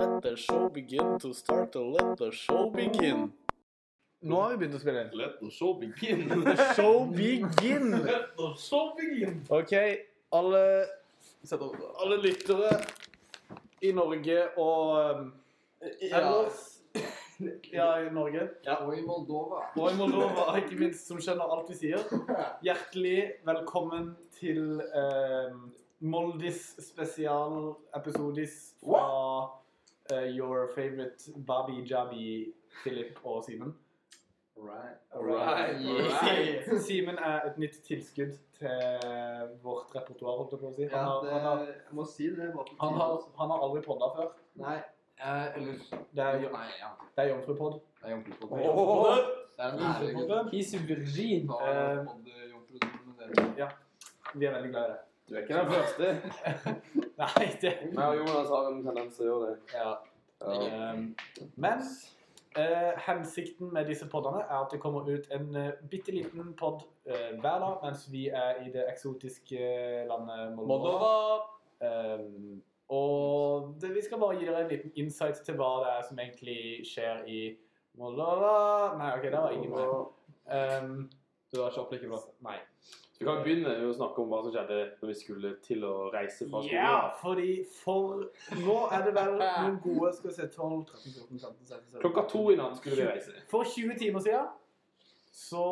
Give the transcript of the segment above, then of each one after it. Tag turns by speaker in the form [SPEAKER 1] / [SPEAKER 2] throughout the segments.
[SPEAKER 1] let the show begin to start to let the show begin.
[SPEAKER 2] Nå har vi begynt å spille.
[SPEAKER 1] Let the show begin.
[SPEAKER 2] The show begin!
[SPEAKER 1] let the show begin.
[SPEAKER 2] OK, alle, alle lyttere i Norge og um, ellers Ja, i Norge.
[SPEAKER 3] Og i Moldova.
[SPEAKER 2] Og i Moldova, ikke minst, som skjønner alt vi sier. Hjertelig velkommen til um, Moldis spesialepisodis fra eh, your favorite Babi Jabi, Philip og Simen.
[SPEAKER 3] Right.
[SPEAKER 1] Alright,
[SPEAKER 3] alright.
[SPEAKER 2] Si- Simen er et nytt tilskudd til vårt repertoar, holdt jeg på å si.
[SPEAKER 3] Ja,
[SPEAKER 2] Han har,
[SPEAKER 3] det,
[SPEAKER 2] han har,
[SPEAKER 3] jeg må si det. Var på tide,
[SPEAKER 2] han har,
[SPEAKER 3] altså.
[SPEAKER 2] han har aldri podda før.
[SPEAKER 3] Nei. Eh, eller
[SPEAKER 2] Det er, jo-
[SPEAKER 3] Nei, ja.
[SPEAKER 2] det er jomfrupod.
[SPEAKER 3] Det er jomfrupodden.
[SPEAKER 2] Åh!
[SPEAKER 3] Det er en ære. gutt.
[SPEAKER 4] He's a virgin.
[SPEAKER 3] Ta
[SPEAKER 2] Eh.
[SPEAKER 3] poddjomfrupodden med dere.
[SPEAKER 2] Vi er veldig glad i det.
[SPEAKER 5] Du er ikke den første.
[SPEAKER 2] Nei, det
[SPEAKER 5] Meg og Jonas har en tendens til å gjøre det.
[SPEAKER 2] ja.
[SPEAKER 5] Ja.
[SPEAKER 2] Ehm, Men eh, hensikten med disse poddene er at det kommer ut en uh, bitte liten pod eh, hver dag mens vi er i det eksotiske eh, landet Moldova. Ehm, og det, vi skal bare gi dere en liten insight til hva det er som egentlig skjer i Moldova Nei, OK, der var ingen med. Ehm,
[SPEAKER 4] Du har ikke opplykket bra.
[SPEAKER 2] nei.
[SPEAKER 5] Vi kan begynne med å snakke om hva som skjedde når vi skulle til å reise fra skolen.
[SPEAKER 2] Ja, fordi for Nå er det vel noen gode Skal vi se 12, 13, 14, 15, 16, 17
[SPEAKER 5] Klokka to i natt skulle vi reise.
[SPEAKER 2] For 20 timer siden så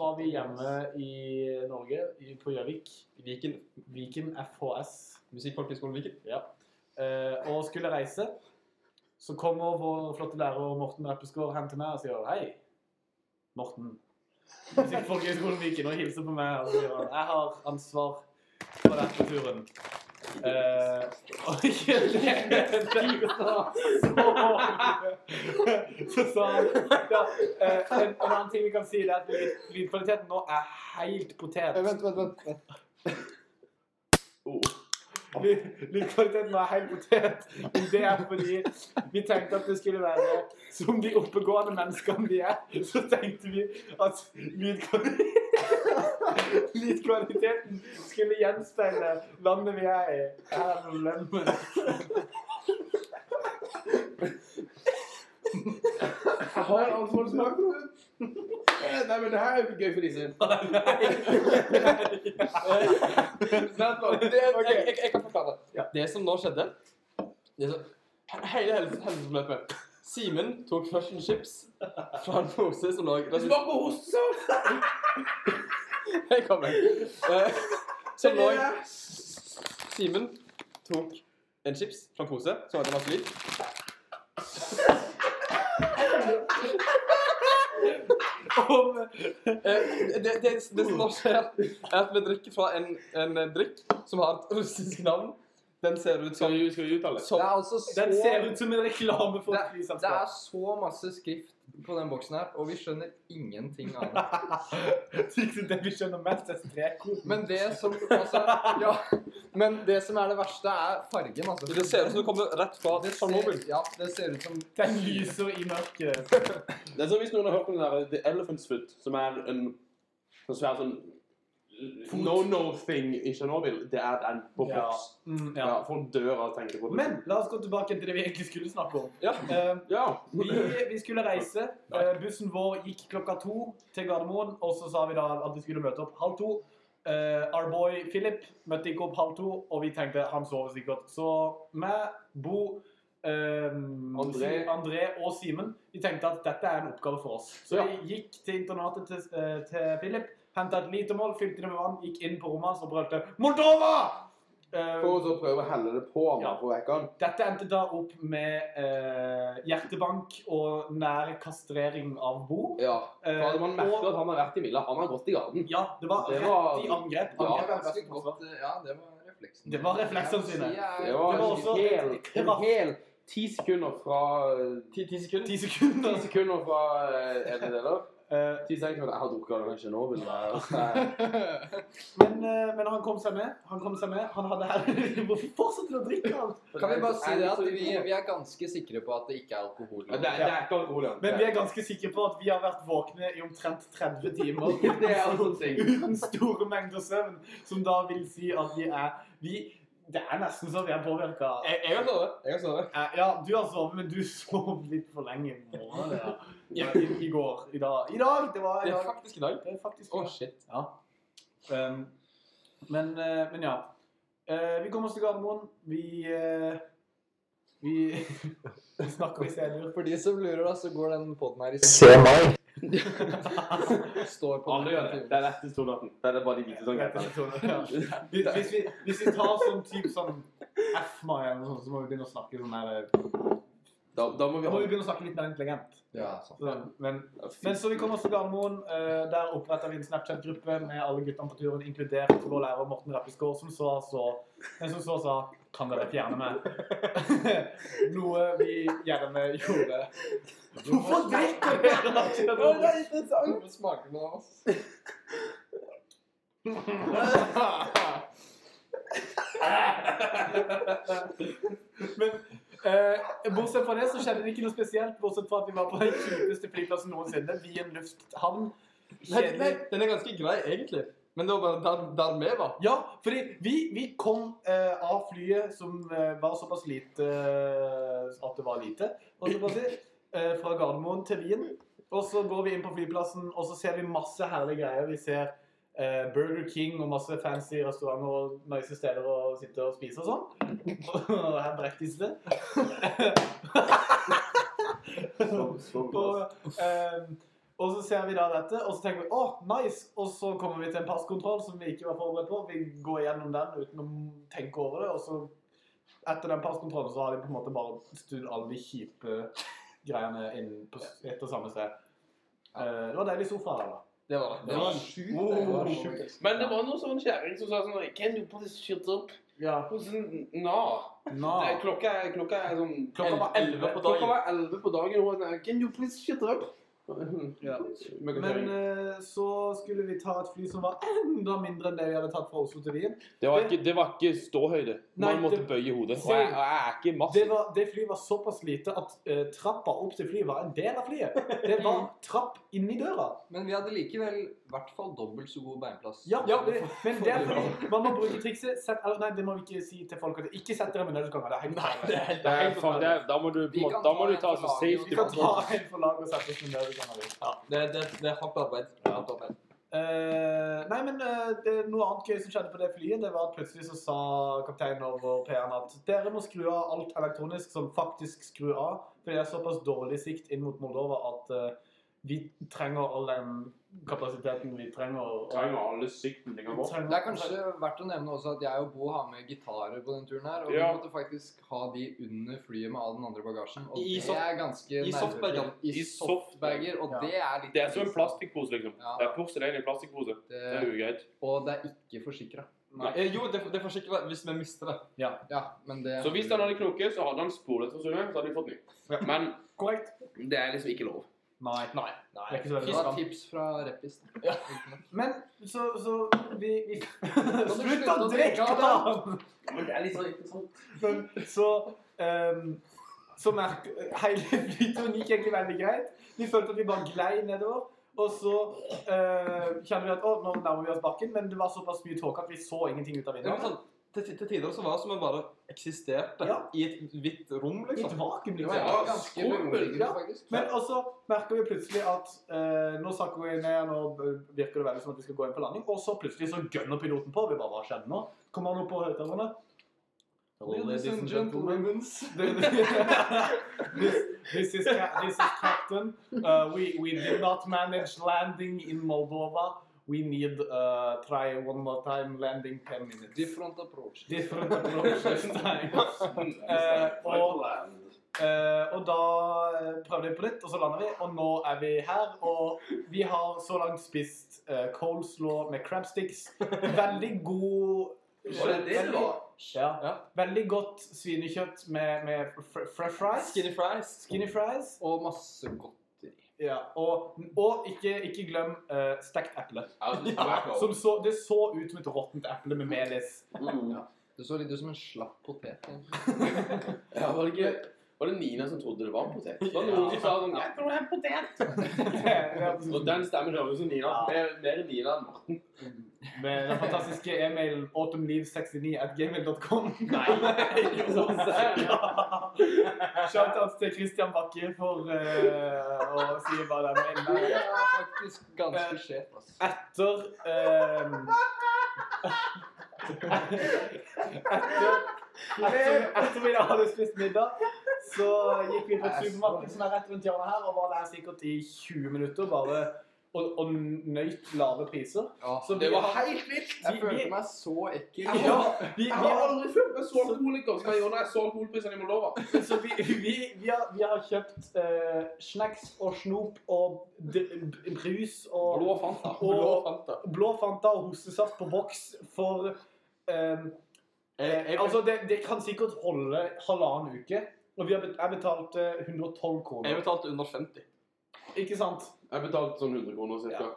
[SPEAKER 2] var vi hjemme i Norge, i- på Gjøvik.
[SPEAKER 4] Viken.
[SPEAKER 2] Viken FHS.
[SPEAKER 4] Musikkfolkehøgskolen Viken.
[SPEAKER 2] Ja. Eh, og skulle reise. Så kommer vår flotte lærer Morten Reppeskår hen til meg og sier hei. Morten. Han sitter på Folkehøgskolen Viken og hilser på meg og sier han, jeg har ansvar for denne turen. Eh, og ikke det Så sa han ja, eh, en, en annen ting vi kan si, det er at lyd- lydkvaliteten nå er helt potet.
[SPEAKER 3] Eh, Vent, vent, vent. vent.
[SPEAKER 2] Lyd- Lydkvaliteten var helt potet. Men Det er fordi vi tenkte at det skulle være som de oppegående menneskene vi er. Så tenkte vi at lydkvaliteten, lydkvaliteten skulle gjenspeile landet vi er i. Her er lønnen.
[SPEAKER 5] Jeg har ansvar for smak, Nei, men det her er jo gøy for disse.
[SPEAKER 4] Det, jeg, jeg, jeg kan forklare.
[SPEAKER 2] Ja.
[SPEAKER 4] Det som nå skjedde det som, he- Hele helse- hendelsesforløpet. Simen tok først en chips fra en pose som lå Det smaker ostesaus! Jeg kommer. Eh, Så lå Simen tok en chips fra en pose som hadde masse lyd.
[SPEAKER 2] Og
[SPEAKER 4] Eh, det, det, det som nå skjer, er at vi drikker fra en, en drikk som har et russisk navn. Den ser ut som,
[SPEAKER 5] Skal vi, skal vi uttale?
[SPEAKER 4] som
[SPEAKER 3] Det er altså så
[SPEAKER 2] Den ser ut som en reklame for et
[SPEAKER 3] Det
[SPEAKER 2] flyselskap.
[SPEAKER 3] er så masse skrift på den boksen her, og vi skjønner ingenting av det.
[SPEAKER 2] Det vi skjønner mest, er strekkoden.
[SPEAKER 3] Men det som altså, ja, Men det som er det verste, er fargen, altså.
[SPEAKER 4] Det ser ut som det kommer rett fra
[SPEAKER 3] Det ser-
[SPEAKER 4] Tsjernobyl.
[SPEAKER 3] Ja, det ser ut som
[SPEAKER 2] Den lyser i mørket.
[SPEAKER 5] Det er som hvis noen har hørt om den der The Elephant's Foot, som er en sånn svær sånn no-no-thing i Tsjernobyl. Det er den på
[SPEAKER 2] Ja.
[SPEAKER 5] boks.
[SPEAKER 2] Mm,
[SPEAKER 5] Ja.
[SPEAKER 2] ja.
[SPEAKER 5] Folk dør av å tenke på det.
[SPEAKER 2] Men la oss gå tilbake til det vi egentlig skulle snakke om.
[SPEAKER 4] Ja.
[SPEAKER 2] Eh,
[SPEAKER 5] ja.
[SPEAKER 2] Vi, vi skulle reise. Eh, bussen vår gikk klokka to til Gardermoen. Og så sa vi da at vi skulle møte opp halv to. Eh, our boy Philip møtte ikke opp halv to, og vi tenkte han sover sikkert. Så meg, Bo, eh,
[SPEAKER 5] André.
[SPEAKER 2] André og Simen vi tenkte at dette er en oppgave for oss. Så
[SPEAKER 5] Ja.
[SPEAKER 2] vi gikk til internatet til, eh, til Philip, henta et litermål, fylte det med vann, gikk inn på rommet hans og brølte 'Moldova!' Eh,
[SPEAKER 5] For å så prøve å helle det på meg
[SPEAKER 2] Ja.
[SPEAKER 5] for å vekke han.
[SPEAKER 2] dette endte da opp med eh, hjertebank og nær kastrering av Bo.
[SPEAKER 5] Ja.
[SPEAKER 2] Eh,
[SPEAKER 5] For man merker
[SPEAKER 2] og,
[SPEAKER 5] at han har vært i Milla. Han har gått i garden.
[SPEAKER 2] ja, det var
[SPEAKER 5] Det
[SPEAKER 2] rett
[SPEAKER 5] var-
[SPEAKER 2] i angrep.
[SPEAKER 3] Ja,
[SPEAKER 2] angrep er
[SPEAKER 3] ganske
[SPEAKER 2] best forsvar.
[SPEAKER 3] godt. Ja, det var refleksene.
[SPEAKER 2] Det var refleksene
[SPEAKER 3] Jeg vil si
[SPEAKER 2] sine.
[SPEAKER 3] jeg-
[SPEAKER 5] Det var,
[SPEAKER 2] Det var også
[SPEAKER 5] en hel,
[SPEAKER 2] et
[SPEAKER 5] en
[SPEAKER 2] kraft-
[SPEAKER 5] hel ti sekunder fra eh, Ti, ti sekunder?
[SPEAKER 2] Ti sekunder.
[SPEAKER 5] Ti sekunder fra eh, en deler.
[SPEAKER 2] Eh,
[SPEAKER 5] Ti sekunder. Jeg har drukket av den kanskje nå, vil jeg
[SPEAKER 2] men, eh, men han kom seg med. Han kom seg med. Han hadde her Hvorfor fortsetter du å drikke alt?
[SPEAKER 3] Kan vi bare si det at vi, vi er ganske sikre på at det ikke er alkohol?
[SPEAKER 5] Ja, det, er, det er ikke alkohol, ja.
[SPEAKER 2] Men vi er ganske sikre på at vi har vært våkne i omtrent 30 timer.
[SPEAKER 5] Det er altså en ting.
[SPEAKER 2] Uten store mengder søvn, som da vil si at vi er Vi, Det er nesten så vi er påvirka.
[SPEAKER 4] Jeg, jeg har sovet. Jeg har sovet.
[SPEAKER 2] Eh, Ja, du har sovet, men du sov litt for lenge i morgen. Ja. I, I går. I dag. I dag! Det var i
[SPEAKER 4] Det er
[SPEAKER 2] dag.
[SPEAKER 4] faktisk i dag.
[SPEAKER 2] Det er faktisk
[SPEAKER 4] Å, shit.
[SPEAKER 2] Ja. Um, men, eh, men ja. Eh, vi kommer oss til Gardermoen. Vi eh, Vi vi snakker i serier.
[SPEAKER 3] For de som lurer, da, så går den poden her i
[SPEAKER 6] Se meg!
[SPEAKER 3] Står på
[SPEAKER 5] Alle gjør det. Det er rett til stornatten. Det er det bare de hvite som vet det.
[SPEAKER 2] Ja. Hvis hvis vi, hvis vi tar sånn type sånn F-Maya eller noe sånt, så må vi begynne å snakke sånn her eh,
[SPEAKER 4] Da, da må vi
[SPEAKER 2] Da må vi begynne å snakke litt mer intelligent.
[SPEAKER 3] Ja, sant.
[SPEAKER 2] Sånn, men,
[SPEAKER 4] ha
[SPEAKER 2] men så vi kommer oss til Gardermoen. eh, der oppretter vi en Snapchat-gruppe med alle guttene på turen, inkludert vår lærer Morten Rappeskår, som så så En som så sa Kan dere fjerne meg? Noe vi gjerne gjorde. Hvorfor drikker dere?
[SPEAKER 3] Hvorfor smaker den av oss?
[SPEAKER 2] Men eh, bortsett fra det så skjedde det ikke noe spesielt, bortsett fra at vi var på den kjipeste flyplassen noensinne, Wien lufthavn.
[SPEAKER 4] Nei, nei,
[SPEAKER 2] Kjedelig.
[SPEAKER 4] den er ganske grei, egentlig. Men det var bare der, der vi var.
[SPEAKER 2] Ja, fordi vi, vi kom eh, av flyet som eh, var såpass lite eh, at det var lite, og så bare si, eh, fra Gardermoen til Wien. Og så går vi inn på flyplassen, og så ser vi masse herlige greier. Vi ser eh, Burger King og masse fancy restauranter og nice steder å sitte og spise og sånn. Og her brekkes det.
[SPEAKER 5] Så- så-
[SPEAKER 2] Og, ehm, og så ser vi da dette, og så tenker vi 'Å, nice!' Og så kommer vi til en passkontroll som vi ikke var forberedt på. Vi går gjennom den uten å tenke over det, og så etter den passkontrollen så har de på en måte bare studd alle de kjipe greiene inn på s- ett og samme sted. Eh, det var deilig sofa her, da.
[SPEAKER 4] Det var det.
[SPEAKER 3] Det var sjukt. Det var sjukt.
[SPEAKER 7] Men det var noen sånn kjæring som sa sånn Can you please shut up?
[SPEAKER 2] Ja.
[SPEAKER 7] Og sånn, Nå.
[SPEAKER 2] Ah.
[SPEAKER 7] Det er klokka, er- klokka er sånn
[SPEAKER 4] Klokka var 11 på
[SPEAKER 7] Klokka
[SPEAKER 4] dagen.
[SPEAKER 7] var 11 på dagen, og hun var sånn Can you please shut up?
[SPEAKER 2] Ja.
[SPEAKER 4] Mye
[SPEAKER 2] Men
[SPEAKER 4] kjøring.
[SPEAKER 2] eh, så skulle vi ta et fly som var enda mindre enn det vi hadde tatt fra Oslo til Wien.
[SPEAKER 8] Det var ikke, det var ikke ståhøyde. Man
[SPEAKER 2] Nei,
[SPEAKER 8] måtte
[SPEAKER 2] det-
[SPEAKER 8] bøye hodet.
[SPEAKER 2] Se.
[SPEAKER 8] Og jeg, og jeg er ikke
[SPEAKER 2] Det,
[SPEAKER 8] massiv.
[SPEAKER 2] var, det flyet var såpass lite at eh, trappa opp til flyet var en del av flyet. Det var trapp inni døra.
[SPEAKER 3] Men vi hadde likevel i hvert fall dobbelt så god beinplass.
[SPEAKER 2] Ja, men, men det er fordi man må bruke trikset sett, eller, Nei, det må vi ikke si til folk. at Ikke sett dere med nødutganger. Det er helt forferdelig.
[SPEAKER 8] Det er helt faen, det er, da må du, på en måte, da må du ta så
[SPEAKER 2] Vi
[SPEAKER 8] safety
[SPEAKER 2] kan ta en for laget og sette oss med nødutganger.
[SPEAKER 3] Det, det, det er hardt arbeid. Hardt arbeid.
[SPEAKER 2] Eh, nei, men eh, det, noe annet gøy som skjedde på det flyet, det var at plutselig så sa kapteinen over PR-en at dere må skru av alt elektronisk som faktisk skrur av, fordi det er såpass dårlig sikt inn mot Moldova at eh, vi trenger all den kapasiteten vi trenger. og-
[SPEAKER 5] Trenger alle sikten de kan få.
[SPEAKER 2] trenger-
[SPEAKER 3] Det er kanskje verdt å nevne også at jeg og Bo har med gitarer på den turen her. Og
[SPEAKER 5] Ja.
[SPEAKER 3] vi måtte faktisk ha de under flyet med all den andre bagasjen. Og
[SPEAKER 4] I soft-
[SPEAKER 3] det er ganske
[SPEAKER 4] i
[SPEAKER 3] nervepirrende.
[SPEAKER 4] softbagen.
[SPEAKER 3] I
[SPEAKER 8] I
[SPEAKER 3] softbager. Og
[SPEAKER 2] Ja.
[SPEAKER 3] det er litt
[SPEAKER 8] Det er som en plastikkpose, liksom.
[SPEAKER 3] Ja.
[SPEAKER 8] Det er porselen i en plastikkpose. Det er
[SPEAKER 3] Det-
[SPEAKER 8] jo greit.
[SPEAKER 3] Og det er ikke forsikra.
[SPEAKER 4] Eh, Jo, det, det forsikrer deg hvis vi mister det.
[SPEAKER 3] Ja, men det
[SPEAKER 8] Så hvis den hadde knoket, så hadde han spolet for sunget, så hadde de fått ny. Men
[SPEAKER 2] Korrekt?
[SPEAKER 7] Det er liksom ikke lov.
[SPEAKER 2] Nei.
[SPEAKER 4] Nei.
[SPEAKER 2] Det er ikke så veldig
[SPEAKER 3] det
[SPEAKER 2] bra.
[SPEAKER 3] var tips fra Reppis.
[SPEAKER 2] Men så, så vi, vi
[SPEAKER 3] du
[SPEAKER 2] Slutt
[SPEAKER 3] slutte
[SPEAKER 2] å
[SPEAKER 3] å
[SPEAKER 2] drikke
[SPEAKER 3] drikke av
[SPEAKER 2] den!
[SPEAKER 7] Men det er litt sånn interessant.
[SPEAKER 2] Men så ehm, Så merk... Hele flyturen gikk egentlig veldig greit. Vi følte at vi bare glei nedover. Og så eh, kjenner vi at å, nå nærmer vi oss bakken, men det var såpass mye tåke at vi så ingenting ut av
[SPEAKER 4] Det var
[SPEAKER 2] vinduet.
[SPEAKER 4] sånn, til, til tider så var det som om vi bare eksisterte
[SPEAKER 2] Ja.
[SPEAKER 4] i et hvitt rom,
[SPEAKER 2] I et
[SPEAKER 4] liksom.
[SPEAKER 2] vakuum,
[SPEAKER 3] Det
[SPEAKER 2] liksom.
[SPEAKER 3] var ganske
[SPEAKER 7] skummelt,
[SPEAKER 3] beroligende,
[SPEAKER 2] ja.
[SPEAKER 3] faktisk.
[SPEAKER 2] Men også merker vi plutselig at eh, nå sakker vi ned, nå virker det veldig som at vi skal gå inn på landing, og så plutselig så gønner piloten på. Vi bare hva skjedde nå? Kommer han opp på høyttalerne?
[SPEAKER 3] Ladies and gentlemen.
[SPEAKER 2] this, this, is ca- this is captain. Uh, we, we did not manage landing in Moldova. We need uh, try one more time landing 10 minutes.
[SPEAKER 3] Different approach.
[SPEAKER 2] Different approach this time. Eh, og, eh, og da eh, prøvde vi på nytt, og så lander vi. Og nå er vi her. Og vi har så langt spist uh, coleslaw med crabsticks. Veldig god
[SPEAKER 7] Var det det det var?
[SPEAKER 2] Ja.
[SPEAKER 4] Ja.
[SPEAKER 2] Veldig godt svinekjøtt med, med fr fresh fries.
[SPEAKER 4] Skinny fries.
[SPEAKER 2] Skinny fries.
[SPEAKER 3] Og masse godteri.
[SPEAKER 2] Ja, og, og ikke, ikke glem eh, stekt eple.
[SPEAKER 7] Ja.
[SPEAKER 2] Som så, det så ut som et råttent eple med melis.
[SPEAKER 5] Mm.
[SPEAKER 3] Det så litt ut som en slapp potet. egentlig.
[SPEAKER 4] Ja, var det ikke,
[SPEAKER 8] var det Nina som trodde det var en potet. Det var noen som sa sånn, jeg tror det er en potet. Og den stemmen hører jo som Nina.
[SPEAKER 2] Ja.
[SPEAKER 8] Mer, mer Nina enn Morten.
[SPEAKER 2] Med den fantastiske e-mailen autumnliv69 at gmail.com. Shoutouts til Christian Bakke for eh, å si hva den mailen
[SPEAKER 3] Det
[SPEAKER 2] er.
[SPEAKER 3] er faktisk
[SPEAKER 4] Eh,
[SPEAKER 3] ganske skjevt, ass.
[SPEAKER 2] Etter ehm, etter, etter, etter vi da hadde spist middag, så gikk vi på et supermarked som er rett rundt hjørnet her, og var der sikkert i 20 minutter bare og, og nøyt lave priser.
[SPEAKER 3] Ja.
[SPEAKER 2] Så vi
[SPEAKER 8] Det var
[SPEAKER 2] har-
[SPEAKER 8] helt vilt.
[SPEAKER 3] Jeg
[SPEAKER 2] vi- vi-
[SPEAKER 3] følte meg så ekkel.
[SPEAKER 2] Ja, vi, vi,
[SPEAKER 8] Jeg har
[SPEAKER 2] har-
[SPEAKER 8] aldri følt meg så alkoholiker som jeg gjorde da jeg så alkoholprisene i Moldova.
[SPEAKER 2] så vi, vi, vi, har, vi har kjøpt eh, snacks og snop og d- brus og
[SPEAKER 8] Blå Fanta.
[SPEAKER 2] Blå
[SPEAKER 8] Fanta.
[SPEAKER 2] blå Fanta og hostesaft på boks for ehm, eh, Altså, det, det kan sikkert holde halvannen uke. Og vi har bet jeg betalte 112
[SPEAKER 4] Jeg
[SPEAKER 2] kroner.
[SPEAKER 4] betalte under 50.
[SPEAKER 2] Ikke sant?
[SPEAKER 8] Jeg betalte sånn 100 kroner cirka.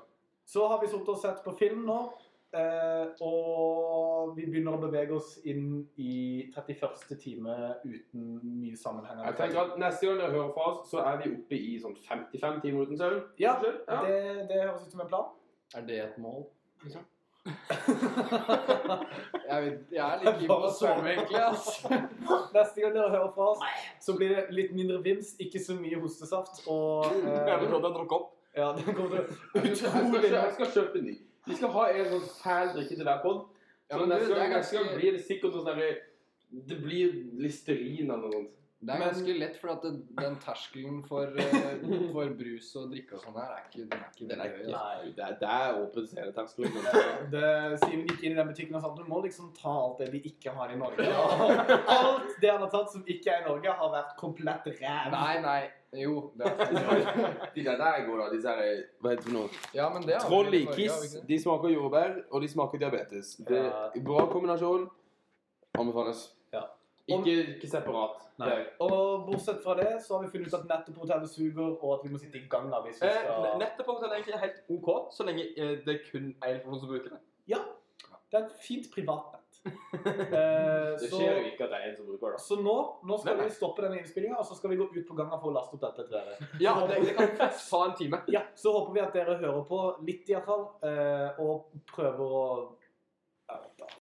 [SPEAKER 2] Så har vi sittet og sett på film nå. eh, og vi begynner å bevege oss inn i 31. time uten mye sammenhengende
[SPEAKER 8] Jeg tenker at Neste gang dere hører fra oss, så er vi oppe i sånn 55 timer uten søvn.
[SPEAKER 2] Ja,
[SPEAKER 8] Ja.
[SPEAKER 2] det, det høres ut som en plan.
[SPEAKER 3] Er det et mål? jeg, vet, jeg er litt keen på å
[SPEAKER 2] Bare sove.
[SPEAKER 3] sove, egentlig. ass.
[SPEAKER 2] Neste gang dere hører fra oss, så blir det litt mindre vims, ikke så mye hostesaft. Og
[SPEAKER 4] Jeg
[SPEAKER 2] eh,
[SPEAKER 4] trodde jeg drukket opp.
[SPEAKER 2] ja, det kommer
[SPEAKER 8] Jeg
[SPEAKER 2] til
[SPEAKER 8] skal,
[SPEAKER 2] utrolig
[SPEAKER 8] jeg skal kjøpe en ny. Vi skal ha en sånn fæl drikke til hver pod.
[SPEAKER 3] Ja,
[SPEAKER 8] Så
[SPEAKER 3] men
[SPEAKER 8] neste
[SPEAKER 3] du, det
[SPEAKER 8] gang,
[SPEAKER 3] er
[SPEAKER 8] neste gang
[SPEAKER 3] ganske-
[SPEAKER 8] blir det sikkert sånn der, Det blir listerin eller noe sånt.
[SPEAKER 3] Det er
[SPEAKER 2] Men-
[SPEAKER 3] ganske lett, for at det, den terskelen for, eh, for brus og drikke og sånn her, er ikke, den er ikke
[SPEAKER 8] Den er
[SPEAKER 3] veldig høy.
[SPEAKER 8] ikke
[SPEAKER 3] ass.
[SPEAKER 8] Det er, det er åpen sceneterskel.
[SPEAKER 2] det, Simen gikk inn i den butikken og sa at du må liksom ta alt det de ikke har i Norge. Og alt det han har tatt som ikke er i Norge, har vært komplett ræv.
[SPEAKER 3] Nei, nei. Jo. Det er,
[SPEAKER 8] De der der eh, går, da. Disse her Hva heter det for noe?
[SPEAKER 3] ja, men det har vi
[SPEAKER 8] Troll i
[SPEAKER 3] i Norge, har vi
[SPEAKER 8] kiss.
[SPEAKER 3] ikke det?
[SPEAKER 8] De smaker jordbær, og de smaker diabetes. Det
[SPEAKER 2] Ja.
[SPEAKER 8] er Bra kombinasjon. Anbefales.
[SPEAKER 2] Ja.
[SPEAKER 8] Ikke, ikke separat.
[SPEAKER 2] Nei. Og bortsett fra det så har vi funnet ut at nettet på hotellet suger, og at vi må sitte i gangen hvis vi
[SPEAKER 4] Eh,
[SPEAKER 2] skal
[SPEAKER 4] Nettet på hotellet er egentlig helt OK, så lenge eh, det er kun én person som bruker det.
[SPEAKER 2] Det er et fint privatnett. Eh,
[SPEAKER 8] Det
[SPEAKER 2] så,
[SPEAKER 8] skjer jo ikke at det er en som bruker det.
[SPEAKER 2] så nå, nå skal
[SPEAKER 4] Nei, nei.
[SPEAKER 2] vi stoppe denne innspillinga, og så skal vi gå ut på gangen for å laste opp dette til dere.
[SPEAKER 4] Ja, det, det kan fort ta en time.
[SPEAKER 2] Ja, så håper vi at dere hører på litt, iallfall, eh, og prøver å jeg vet da